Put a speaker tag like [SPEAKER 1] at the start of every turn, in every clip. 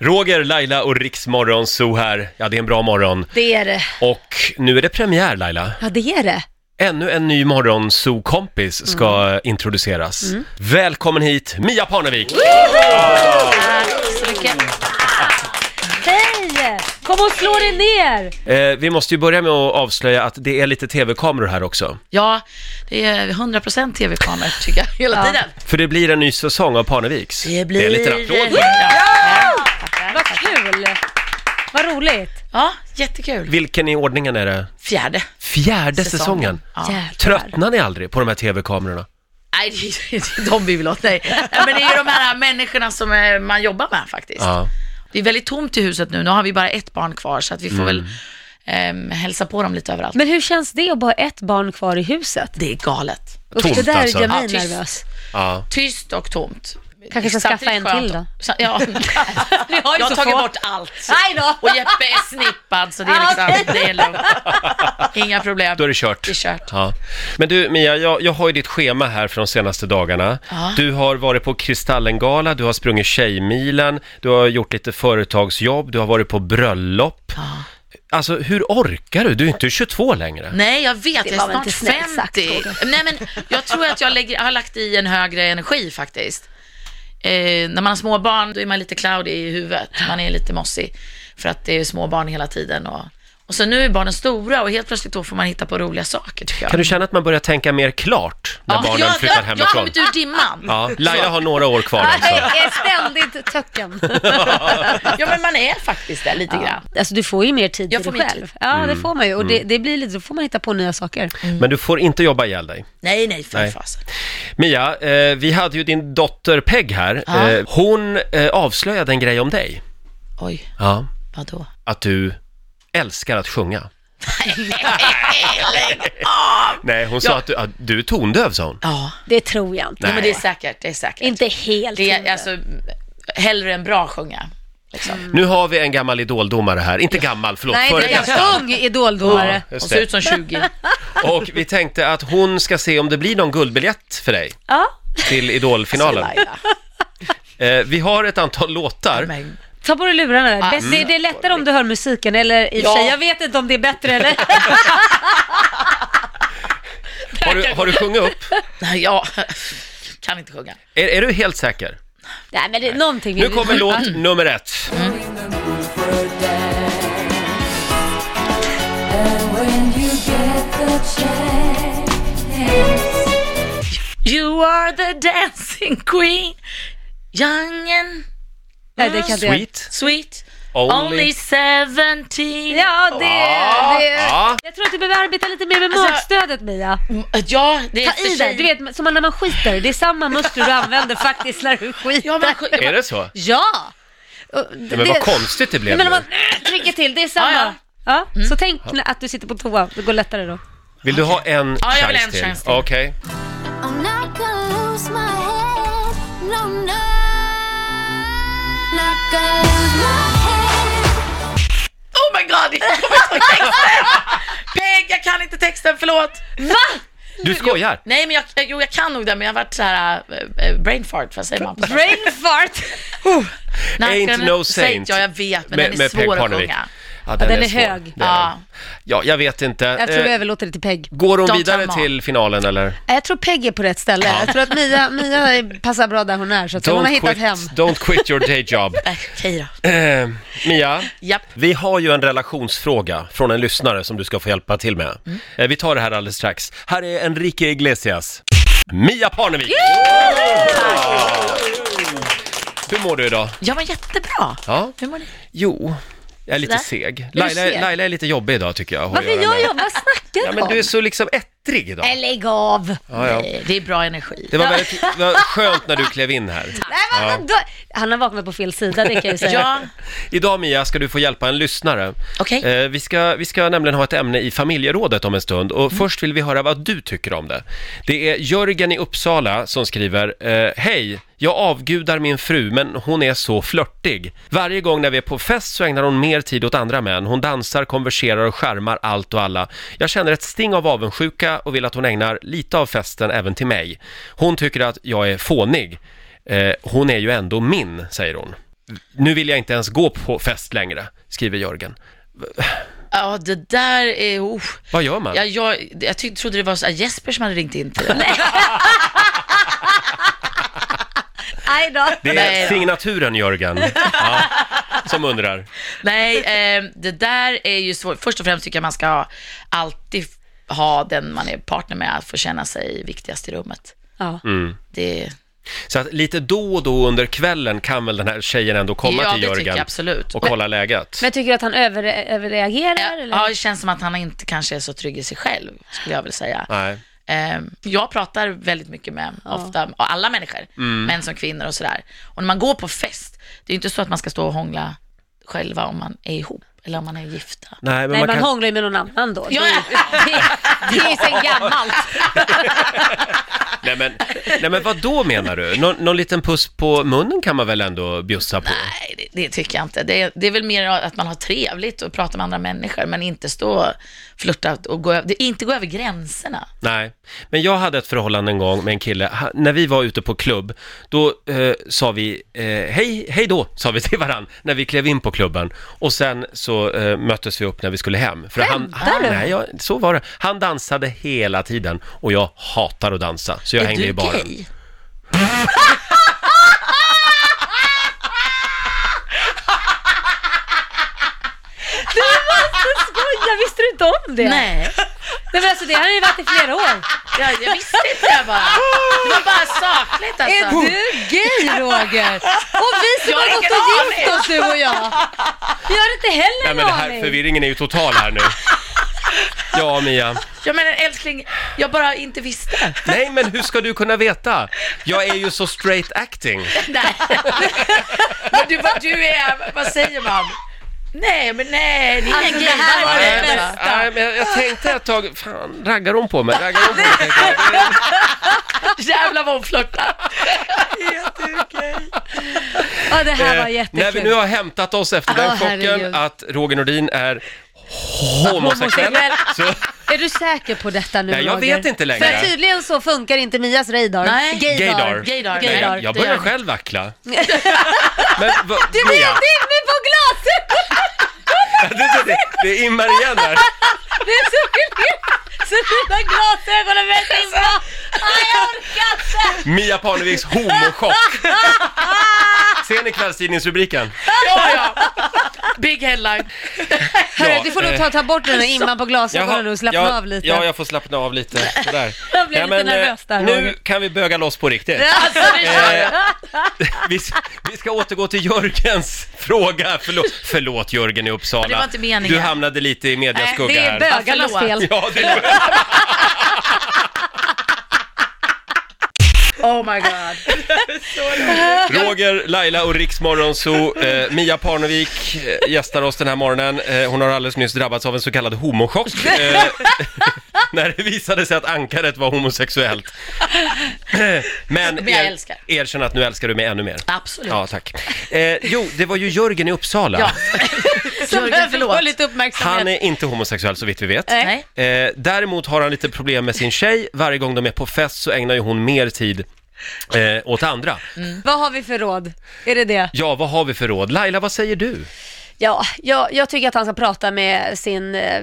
[SPEAKER 1] Roger, Laila och Riksmorgon Zoo här. Ja, det är en bra morgon.
[SPEAKER 2] Det är det.
[SPEAKER 1] Och nu är det premiär, Laila.
[SPEAKER 2] Ja, det är det.
[SPEAKER 1] Ännu en ny morgonzoo-kompis ska eh, introduceras. Välkommen hit, Mia Parnevik!
[SPEAKER 2] Tack så mycket. Hej! Kom och slå dig ner!
[SPEAKER 1] Eh, vi måste ju börja med att avslöja att det är lite tv-kameror här också.
[SPEAKER 3] Ja, det är 100% tv-kameror tycker jag, hela
[SPEAKER 2] Ja.
[SPEAKER 3] tiden.
[SPEAKER 1] För det blir en ny säsong av Parneviks. Det är lite applåd.
[SPEAKER 3] Ja,
[SPEAKER 2] Vad kul! Vad roligt!
[SPEAKER 3] ja, jättekul.
[SPEAKER 1] Vilken i ordningen är det?
[SPEAKER 3] Fjärde
[SPEAKER 1] Fjärde säsongen.
[SPEAKER 3] Ja.
[SPEAKER 2] Jävlar.
[SPEAKER 1] Tröttnar ni aldrig på de här tv-kamerorna?
[SPEAKER 3] Nej, det är inte de vi vill åt, nej. Nej, Men det är ju de här människorna som eh, man jobbar med faktiskt.
[SPEAKER 1] Ja.
[SPEAKER 3] Det är väldigt tomt i huset nu, nu har vi bara ett barn kvar så att
[SPEAKER 1] Mm.
[SPEAKER 3] vi får väl ehm, hälsa på dem lite överallt.
[SPEAKER 2] Men hur känns det att bara ha ett barn kvar i huset?
[SPEAKER 3] det är galet.
[SPEAKER 2] Usch,
[SPEAKER 1] Tomt,
[SPEAKER 2] det där
[SPEAKER 1] alltså.
[SPEAKER 2] gör mig
[SPEAKER 3] Ja, tyst.
[SPEAKER 2] nervös.
[SPEAKER 1] Ja.
[SPEAKER 3] Tyst och tomt.
[SPEAKER 2] Kanske ska
[SPEAKER 3] Samtidigt
[SPEAKER 2] skaffa en
[SPEAKER 3] skönt
[SPEAKER 2] till då.
[SPEAKER 3] och- sa- Ja,
[SPEAKER 2] Vi har ju
[SPEAKER 3] jag har
[SPEAKER 2] så
[SPEAKER 3] tagit
[SPEAKER 2] få.
[SPEAKER 3] bort allt.
[SPEAKER 2] Nej då!
[SPEAKER 3] Och Jeppe är snippad så det är
[SPEAKER 2] Ja,
[SPEAKER 3] liksom, det är lugnt. Inga problem.
[SPEAKER 1] Då är det kört.
[SPEAKER 3] Det är kört.
[SPEAKER 1] Ja. Men du Mia, jag, jag har ju ditt schema här från de senaste dagarna.
[SPEAKER 3] Ja.
[SPEAKER 1] Du har varit på Kristallengala, du har sprungit Tjejmilen, du har gjort lite företagsjobb, du har varit på bröllop. Alltså hur orkar du? Du är inte 22 längre.
[SPEAKER 3] Nej, jag vet.
[SPEAKER 2] Det
[SPEAKER 3] jag
[SPEAKER 2] var väl
[SPEAKER 3] är
[SPEAKER 2] inte
[SPEAKER 3] snart
[SPEAKER 2] snällt sagt,
[SPEAKER 3] 50.
[SPEAKER 2] Roger.
[SPEAKER 3] Nej, men jag tror att jag, lägger, jag har lagt i en högre energi faktiskt. Eh, när man har småbarn, då är man lite cloudy i huvudet. Man är lite mossig för att det är småbarn hela tiden. Och, och så nu är barnen stora och helt plötsligt då får man hitta på roliga saker tycker jag.
[SPEAKER 1] Kan du känna att man börjar tänka mer klart när barnen
[SPEAKER 3] jag,
[SPEAKER 1] flyttar
[SPEAKER 3] jag, jag har
[SPEAKER 1] hemifrån?
[SPEAKER 3] kommit ur dimman.
[SPEAKER 1] Ja, Laila har några år kvar
[SPEAKER 2] Jag
[SPEAKER 1] alltså.
[SPEAKER 2] är ständigt töcken.
[SPEAKER 3] Ja, men man är faktiskt där lite grann.
[SPEAKER 2] Alltså du får ju mer tid
[SPEAKER 3] Jag
[SPEAKER 2] till
[SPEAKER 3] får
[SPEAKER 2] dig
[SPEAKER 3] mer
[SPEAKER 2] själv. Ja,
[SPEAKER 1] Mm.
[SPEAKER 2] det får man ju. Och det, det blir lite, så får man hitta på nya saker.
[SPEAKER 1] Men du får inte jobba ihjäl dig.
[SPEAKER 3] Nej, nej, för
[SPEAKER 1] Nej.
[SPEAKER 3] fasen.
[SPEAKER 1] Mia, eh, vi hade ju din dotter Peg här.
[SPEAKER 3] Ja.
[SPEAKER 1] Eh, hon eh, avslöjade en grej om dig.
[SPEAKER 3] Oj,
[SPEAKER 1] Ja.
[SPEAKER 3] vadå?
[SPEAKER 1] Att du älskar att sjunga. Nej, hon sa
[SPEAKER 3] Ja.
[SPEAKER 1] att du, att du är tondöv, sa hon.
[SPEAKER 3] Ja,
[SPEAKER 2] Det tror jag inte.
[SPEAKER 3] jo, men
[SPEAKER 1] Nej.
[SPEAKER 3] det är säkert, det är säkert.
[SPEAKER 2] Inte helt.
[SPEAKER 3] Det
[SPEAKER 2] inte.
[SPEAKER 3] är alltså hellre en bra sjunga. Liksom.
[SPEAKER 1] Nu har vi en gammal idoldomare här. Inte gammal, förlåt.
[SPEAKER 2] Nej,
[SPEAKER 1] före
[SPEAKER 2] det är
[SPEAKER 1] detta.
[SPEAKER 2] en ung idoldomare.
[SPEAKER 1] Ja. Just
[SPEAKER 3] Hon
[SPEAKER 1] det.
[SPEAKER 3] ser ut som 20.
[SPEAKER 1] Och vi tänkte att hon ska se om det blir någon guldbiljett för dig
[SPEAKER 2] Ja.
[SPEAKER 1] till idolfinalen.
[SPEAKER 3] Alltså, Laila.
[SPEAKER 1] Eh, vi har ett antal låtar.
[SPEAKER 3] Men,
[SPEAKER 2] Ta på dig lurarna där.
[SPEAKER 3] Ah,
[SPEAKER 2] Bäst- det, det är lättare om du hör musiken, eller i och
[SPEAKER 3] Ja.
[SPEAKER 2] för sig, jag vet inte om det är bättre eller...
[SPEAKER 1] Har du, har du sjungit upp?
[SPEAKER 3] nej, jag kan inte sjunga.
[SPEAKER 1] Är, är du helt säker?
[SPEAKER 2] Nej men det, någonting vill
[SPEAKER 1] Nu
[SPEAKER 2] vi-
[SPEAKER 1] kommer låt
[SPEAKER 2] Mm.
[SPEAKER 1] nummer ett.
[SPEAKER 4] When you get the chance,
[SPEAKER 3] You are the dancing queen Young and
[SPEAKER 2] Nej, det kan inte jag.
[SPEAKER 1] Sweet,
[SPEAKER 3] sweet
[SPEAKER 1] only...
[SPEAKER 3] Only 17
[SPEAKER 2] Ja, det,
[SPEAKER 1] Ah,
[SPEAKER 2] det...
[SPEAKER 1] Ja,
[SPEAKER 2] Jag tror att du behöver arbeta lite mer med
[SPEAKER 3] Alltså-
[SPEAKER 2] magstödet Mia.
[SPEAKER 3] Ja, det är
[SPEAKER 2] Ta i där, du vet som när man skiter. Det är samma muskler du använder faktiskt när du skiter.
[SPEAKER 3] Ja, men, sjö-
[SPEAKER 1] är det så?
[SPEAKER 2] Ja! Och
[SPEAKER 1] Nej, men vad konstigt det blev
[SPEAKER 2] Nej, men om
[SPEAKER 1] nu.
[SPEAKER 2] man trycker till, det är samma. Ja,
[SPEAKER 3] Ja,
[SPEAKER 2] Så tänk att du sitter på toa, det går lättare då.
[SPEAKER 1] Vill du ha en
[SPEAKER 3] Ja, jag vill
[SPEAKER 1] chans
[SPEAKER 3] en
[SPEAKER 1] till?
[SPEAKER 3] chans till.
[SPEAKER 1] Okej.
[SPEAKER 4] I'm not gonna lose my head, no, no. Not gonna lose my head.
[SPEAKER 3] Oh my god, jag kommer inte ihåg texten! Peg, jag kan inte texten, förlåt!
[SPEAKER 2] Va?
[SPEAKER 1] Du skojar?
[SPEAKER 3] Nej, men jag, jag- jo, jag kan nog den, men jag har varit så här eh, eh, brain fart, vad säger man? på-
[SPEAKER 2] Brain fart!
[SPEAKER 3] Nej,
[SPEAKER 1] Ain't
[SPEAKER 3] den-
[SPEAKER 1] no saint.
[SPEAKER 3] Ja, jag vet, men den är
[SPEAKER 1] med Peg
[SPEAKER 3] svår att
[SPEAKER 1] Parnevik.
[SPEAKER 3] sjunga.
[SPEAKER 1] Ja,
[SPEAKER 2] den är
[SPEAKER 1] svår.
[SPEAKER 2] hög.
[SPEAKER 1] Det är den.
[SPEAKER 3] Ja.
[SPEAKER 1] Ja, jag vet inte.
[SPEAKER 2] Jag tror
[SPEAKER 1] Eh,
[SPEAKER 2] vi överlåter det till Peg.
[SPEAKER 1] Går hon
[SPEAKER 3] Don't
[SPEAKER 1] vidare
[SPEAKER 3] come on.
[SPEAKER 1] till finalen eller?
[SPEAKER 2] Jag tror Peg är på rätt ställe. Jag tror att Mia, Mia är- passar bra där hon är, så att hon har hittat
[SPEAKER 1] quit,
[SPEAKER 2] hem.
[SPEAKER 1] don't quit your day job.
[SPEAKER 3] Nej, Okej då.
[SPEAKER 1] Eh, Mia,
[SPEAKER 3] Japp.
[SPEAKER 1] vi har ju en relationsfråga från en lyssnare som du ska få hjälpa till med.
[SPEAKER 2] Mm.
[SPEAKER 1] Eh, vi tar det här alldeles strax. Här är Enrique Iglesias. Mia Parnevik! Hur mår du idag?
[SPEAKER 3] Jag var jättebra.
[SPEAKER 1] Ja.
[SPEAKER 3] Hur mår ni?
[SPEAKER 1] Jo, jag är lite
[SPEAKER 3] Sådär.
[SPEAKER 1] seg. Laila,
[SPEAKER 2] seg?
[SPEAKER 1] Laila är lite jobbig idag tycker jag. att ha att
[SPEAKER 2] Varför
[SPEAKER 1] göra
[SPEAKER 2] gör
[SPEAKER 1] med.
[SPEAKER 2] jag? Vad snackar
[SPEAKER 1] Ja, men du
[SPEAKER 2] om?
[SPEAKER 1] är så liksom ettrig idag.
[SPEAKER 2] Nej, lägg av!
[SPEAKER 1] Ja, ja.
[SPEAKER 3] Eh, Det är bra energi.
[SPEAKER 1] Det var väldigt det var skönt när du klev in här.
[SPEAKER 2] Nej, men, vadå? Han har vaknat på fel sida, det kan jag ju säga.
[SPEAKER 3] Ja,
[SPEAKER 1] Idag Mia ska du få hjälpa en lyssnare.
[SPEAKER 3] Okej.
[SPEAKER 1] Eh, vi, ska, vi ska nämligen ha ett ämne i familjerådet om en stund och först vill vi höra vad du tycker om det. Det är Jörgen i Uppsala som skriver, eh, hej, jag avgudar min fru men hon är så flörtig. Varje gång när vi är på fest så ägnar hon mer tid åt andra män. Hon dansar, konverserar och skärmar allt och alla. Jag känner ett sting av avundsjuka och vill att hon ägnar lite av festen även till mig. Hon tycker att jag är fånig. Eh, hon är ju ändå min, säger hon. nu vill jag inte ens gå på fest längre, skriver Jörgen.
[SPEAKER 3] Ja, det där är... Oh.
[SPEAKER 1] Vad gör man?
[SPEAKER 3] Ja, jag, jag ty- trodde det var så här Jesper som hade ringt in till det.
[SPEAKER 2] Aj då.
[SPEAKER 1] Det är
[SPEAKER 3] Nej då.
[SPEAKER 1] signaturen Jörgen, ja, som undrar.
[SPEAKER 3] Nej, eh, det där är ju svårt. Först och främst tycker jag man ska ha, alltid f- ha den man är partner med, att få känna sig viktigast i rummet.
[SPEAKER 2] Ja.
[SPEAKER 1] Mm.
[SPEAKER 3] Det,
[SPEAKER 1] Så att lite då och då under kvällen kan väl den här tjejen ändå komma
[SPEAKER 3] ja,
[SPEAKER 1] till
[SPEAKER 3] det tycker jag
[SPEAKER 1] Jörgen
[SPEAKER 3] absolut.
[SPEAKER 1] och kolla läget.
[SPEAKER 2] Men tycker du att han över, överreagerar? eller?
[SPEAKER 3] Ja, det känns som att han inte kanske är så trygg i sig själv, skulle jag vilja säga.
[SPEAKER 1] Nej.
[SPEAKER 3] Eh, jag pratar väldigt mycket med ofta, och alla människor,
[SPEAKER 1] Mm.
[SPEAKER 3] män som kvinnor och sådär. Och när man går på fest, det är ju inte så att man ska stå och hångla själva om man är ihop eller om man är gifta.
[SPEAKER 1] Nej, men
[SPEAKER 2] Nej,
[SPEAKER 1] man
[SPEAKER 2] man,
[SPEAKER 1] kan...
[SPEAKER 2] hånglar ju med någon annan då.
[SPEAKER 3] Ja,
[SPEAKER 2] Det,
[SPEAKER 3] ja.
[SPEAKER 2] det, det är ju sen gammalt.
[SPEAKER 1] Nej, men, nej, men vad då menar du? Nå, någon liten puss på munnen kan man väl ändå bjussa på?
[SPEAKER 3] Nej, det, det tycker jag inte. Det, det är väl mer att man har trevligt och pratar med andra människor, men inte stå och flirta och gå, ö- det, inte gå över gränserna.
[SPEAKER 1] Nej, men jag hade ett förhållande en gång med en kille. Ha- när vi var ute på klubb, då eh, sa vi eh, hej, hej då, sa vi till varann när vi klev in på klubben. Och sen så eh, möttes vi upp när vi skulle hem. För han, han,
[SPEAKER 2] du?
[SPEAKER 1] nej, jag, så var det. Han dansade hela tiden och jag hatar att dansa, så jag
[SPEAKER 3] är
[SPEAKER 1] hängde
[SPEAKER 3] du
[SPEAKER 1] i baren.
[SPEAKER 3] gay?
[SPEAKER 2] Jag visste du inte om det?
[SPEAKER 3] Nej,
[SPEAKER 2] Nej, men alltså, det har ju varit i flera år.
[SPEAKER 3] jag, jag visste inte det bara. Det var bara sakligt
[SPEAKER 2] Är
[SPEAKER 3] alltså.
[SPEAKER 2] du gay Roger? Och vi som
[SPEAKER 3] Jag
[SPEAKER 2] har
[SPEAKER 3] har
[SPEAKER 2] gått
[SPEAKER 3] ingen
[SPEAKER 2] och
[SPEAKER 3] aning.
[SPEAKER 2] gift oss du och jag. Vi har inte heller
[SPEAKER 1] Nej, men
[SPEAKER 2] en
[SPEAKER 1] det här,
[SPEAKER 2] aning.
[SPEAKER 1] förvirringen är ju total här nu. Ja, Mia.
[SPEAKER 3] Jag menar älskling, jag bara inte visste.
[SPEAKER 1] Nej, men hur ska du kunna veta? Jag är ju så straight acting.
[SPEAKER 3] Nej. Men du, vad du är, vad säger man? Nej, men nej, det är
[SPEAKER 2] Alltså,
[SPEAKER 3] ingen
[SPEAKER 2] det här var det
[SPEAKER 3] gay.
[SPEAKER 2] bästa.
[SPEAKER 1] Nej, men jag- jag tänkte ett tag, fan, raggar hon på mig? Raggar hon på mig? tänkte jag.
[SPEAKER 3] Jävlar vad hon flörtar.
[SPEAKER 2] Ja, det här var
[SPEAKER 1] Eh,
[SPEAKER 2] jättekul.
[SPEAKER 1] När vi nu har hämtat oss efter
[SPEAKER 2] Ja,
[SPEAKER 1] den chocken
[SPEAKER 2] herregud.
[SPEAKER 1] att Roger Nordin är homosexuell.
[SPEAKER 2] Homosexuell.
[SPEAKER 1] så,
[SPEAKER 2] Är du säker på detta nu
[SPEAKER 1] Nej, jag
[SPEAKER 2] Roger?
[SPEAKER 1] vet inte längre.
[SPEAKER 2] För tydligen så funkar inte Mias radar.
[SPEAKER 3] Nej.
[SPEAKER 1] gaydar.
[SPEAKER 3] Gaydar.
[SPEAKER 1] Nej,
[SPEAKER 2] Gaydar.
[SPEAKER 1] jag
[SPEAKER 3] Det gör
[SPEAKER 1] börjar
[SPEAKER 3] vi.
[SPEAKER 1] själv vackla. Men, vad,
[SPEAKER 2] Du blir
[SPEAKER 1] Mia,
[SPEAKER 2] dimmig på glaset!
[SPEAKER 1] det, det, det immar igen där.
[SPEAKER 2] Det är så gulligt! Så dina glasögon är väldigt dimma. Nej, jag orkar inte!
[SPEAKER 1] Mia Parneviks homochock. Ser ni kvällstidningsrubriken?
[SPEAKER 3] Ja, ja. Big headline.
[SPEAKER 2] Hörru, du får nog
[SPEAKER 1] eh,
[SPEAKER 2] ta, ta bort den där imman på glasögonen
[SPEAKER 1] Jaha,
[SPEAKER 2] och slappna
[SPEAKER 1] ja,
[SPEAKER 2] av lite.
[SPEAKER 1] Ja, jag får slappna av lite. Sådär.
[SPEAKER 2] Jag blev lite
[SPEAKER 1] eh,
[SPEAKER 2] nervös där,
[SPEAKER 1] Nu
[SPEAKER 2] Roger.
[SPEAKER 1] kan vi böga loss på riktigt. Eh,
[SPEAKER 3] Alltså, det gör jag.
[SPEAKER 1] Vi, s- vi ska återgå till Jörgens fråga. Förlåt, förlåt Jörgen i Uppsala.
[SPEAKER 3] Det var inte meningen.
[SPEAKER 1] Du hamnade lite i medias
[SPEAKER 3] Nej,
[SPEAKER 1] skugga
[SPEAKER 2] Det är
[SPEAKER 1] här.
[SPEAKER 2] bögarnas
[SPEAKER 3] Förlåt.
[SPEAKER 2] fel.
[SPEAKER 1] Ja, det är
[SPEAKER 3] Oh my god.
[SPEAKER 1] Roger, Laila och Riksmorgon så eh, Mia Parnevik eh, gästar oss den här morgonen. Eh, hon har alldeles nyss drabbats av en så kallad homochock. Eh, när det visade sig att ankaret var homosexuellt. Eh, Men,
[SPEAKER 3] Men jag älskar.
[SPEAKER 1] erkänn att nu älskar du mig ännu mer.
[SPEAKER 3] Absolut.
[SPEAKER 1] Ja, tack. Eh, jo, det var ju Jörgen i Uppsala.
[SPEAKER 3] Ja. Jörgen,
[SPEAKER 2] behöver få
[SPEAKER 3] förlåt.
[SPEAKER 2] lite uppmärksamhet.
[SPEAKER 1] Han är inte homosexuell så vitt vi vet.
[SPEAKER 3] Nej.
[SPEAKER 1] Eh, däremot har han lite problem med sin tjej. Varje gång de är på fest så ägnar ju hon mer tid eh, åt andra.
[SPEAKER 3] Mm.
[SPEAKER 2] Vad har vi för råd? Är det det?
[SPEAKER 1] Ja, vad har vi för råd? Laila, vad säger du?
[SPEAKER 2] Ja, jag, jag tycker att han ska prata med sin... eh,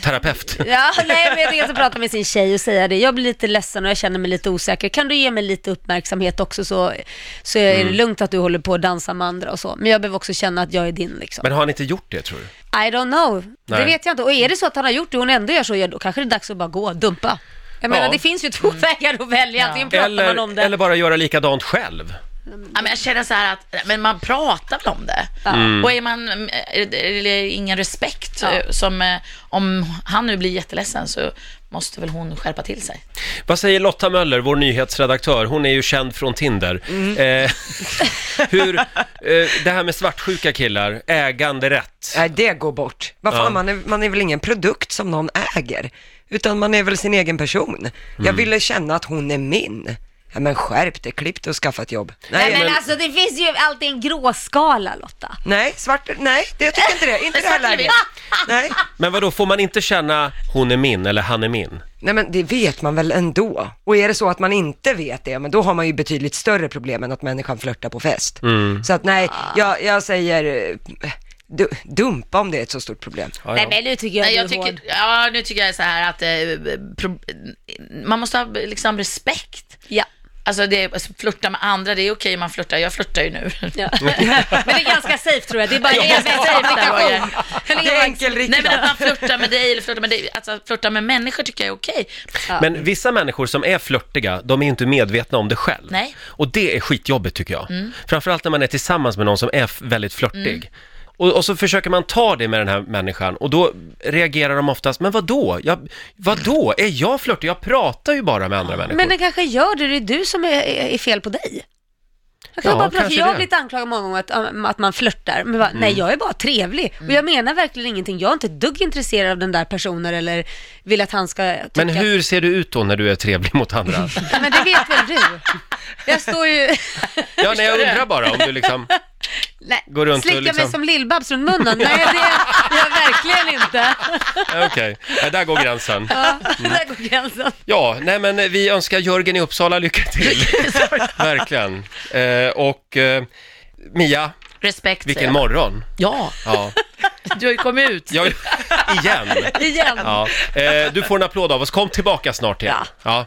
[SPEAKER 1] Terapeut?
[SPEAKER 2] Ja, nej, men jag tycker att han ska prata med sin tjej och säga det. Jag blir lite ledsen och jag känner mig lite osäker. Kan du ge mig lite uppmärksamhet också så, så är
[SPEAKER 1] Mm.
[SPEAKER 2] det lugnt att du håller på att dansa med andra och så. Men jag behöver också känna att jag är din liksom.
[SPEAKER 1] Men har han inte gjort det, tror du?
[SPEAKER 2] I don't know. Det
[SPEAKER 1] Nej.
[SPEAKER 2] vet jag inte. Och är det så att han har gjort det och hon ändå gör så, ja, då kanske det är dags att bara gå och dumpa. Jag menar,
[SPEAKER 1] Ja. Mm.
[SPEAKER 2] det finns ju två vägar att välja. Antingen pratar man om
[SPEAKER 1] Eller,
[SPEAKER 2] det.
[SPEAKER 1] eller bara göra likadant själv?
[SPEAKER 3] Ja, men jag känner så här att men man pratar väl om det.
[SPEAKER 1] Mm.
[SPEAKER 3] Och är man, är det- är det ingen respekt,
[SPEAKER 2] Ja.
[SPEAKER 3] eh, som eh, om han nu blir jätteledsen så måste väl hon skärpa till sig.
[SPEAKER 1] Vad säger Lotta Möller, vår nyhetsredaktör? Hon är ju känd från Tinder.
[SPEAKER 2] Mm.
[SPEAKER 1] Eh, hur, eh, det här med svartsjuka killar, äganderätt.
[SPEAKER 5] Nej, det går bort. Vad fan,
[SPEAKER 1] Ja.
[SPEAKER 5] man, är, man är väl ingen produkt som någon äger, utan man är väl sin egen person. Jag ville känna att hon är min. Ja, men skärp dig, klipp dig och skaffa ett jobb. Nej,
[SPEAKER 2] Nej, men,
[SPEAKER 1] men-
[SPEAKER 2] alltså det finns ju alltid en gråskala Lotta.
[SPEAKER 5] nej, svart, nej, det jag tycker inte det. Inte i det här
[SPEAKER 3] Svart eller
[SPEAKER 5] läget. Nej.
[SPEAKER 1] Men vadå, får man inte känna hon är min eller han är min?
[SPEAKER 5] nej, men det vet man väl ändå. Och är det så att man inte vet det, men då har man ju betydligt större problem än att människan flörtar på fest. Så att nej, jag, jag säger eh, du, dumpa om det är ett så stort problem.
[SPEAKER 1] Ja,
[SPEAKER 2] Nej
[SPEAKER 1] ja.
[SPEAKER 2] men nu tycker jag,
[SPEAKER 3] Nej, jag
[SPEAKER 2] du är hård.
[SPEAKER 3] tycker, ja, nu tycker jag så här att eh, pro, man måste ha liksom respekt.
[SPEAKER 2] Ja.
[SPEAKER 3] Alltså, det, alltså flörta med andra, det är okej man flörtar. Jag flörtar ju nu.
[SPEAKER 2] Ja. men det är ganska safe tror jag. Det är bara
[SPEAKER 3] Ja,
[SPEAKER 2] en
[SPEAKER 3] jag ska säga det, Roger.
[SPEAKER 2] verifikation.
[SPEAKER 5] Det är enkelriktat.
[SPEAKER 3] Nej men att man flörtar med dig eller flörtar med dig, alltså att flörta med människor tycker jag är okej.
[SPEAKER 1] Men vissa människor som är flörtiga, de är ju inte medvetna om det själv.
[SPEAKER 3] Nej.
[SPEAKER 1] Och det är skitjobbigt tycker jag. Framförallt när man är tillsammans med någon som är f- väldigt flörtig. Och, och så försöker man ta det med den här människan och då reagerar de oftast, men vadå? Jag, vadå? Är jag flörtig? Jag pratar ju bara med andra människor.
[SPEAKER 2] Men den kanske gör det, det är du som är, är är fel på dig. Jag, kan
[SPEAKER 1] Ja,
[SPEAKER 2] bara prata,
[SPEAKER 1] kanske
[SPEAKER 2] jag har
[SPEAKER 1] det. Mm.
[SPEAKER 2] blivit anklagad många gånger att, um, att man flörtar, men bara, nej jag är bara trevlig och jag menar verkligen ingenting. Jag är inte ett dugg intresserad av den där personen eller vill att han ska tycka
[SPEAKER 1] Men hur ser du ut då när du är trevlig mot andra?
[SPEAKER 2] Ja, men det vet väl du? Jag står ju...
[SPEAKER 1] Ja, nej, jag undrar bara om du liksom...
[SPEAKER 2] Nej,
[SPEAKER 1] Går runt och
[SPEAKER 2] slickar
[SPEAKER 1] liksom-
[SPEAKER 2] mig som Lill-Babs runt munnen. Nej, det gör jag verkligen inte.
[SPEAKER 1] Ja, Okej, ja, där går gränsen.
[SPEAKER 2] Ja, där går gränsen.
[SPEAKER 1] Ja, nej men vi önskar Jörgen i Uppsala lycka till. Verkligen. Eh, och eh, Mia,
[SPEAKER 3] Respekt säger
[SPEAKER 1] vilken
[SPEAKER 3] jag.
[SPEAKER 1] morgon.
[SPEAKER 3] Ja,
[SPEAKER 1] Ja,
[SPEAKER 3] du har ju kommit ut.
[SPEAKER 1] jag, igen.
[SPEAKER 2] Igen.
[SPEAKER 1] Ja. Eh, du får en applåd av oss. Kom tillbaka snart igen.
[SPEAKER 2] Ja.
[SPEAKER 1] Ja.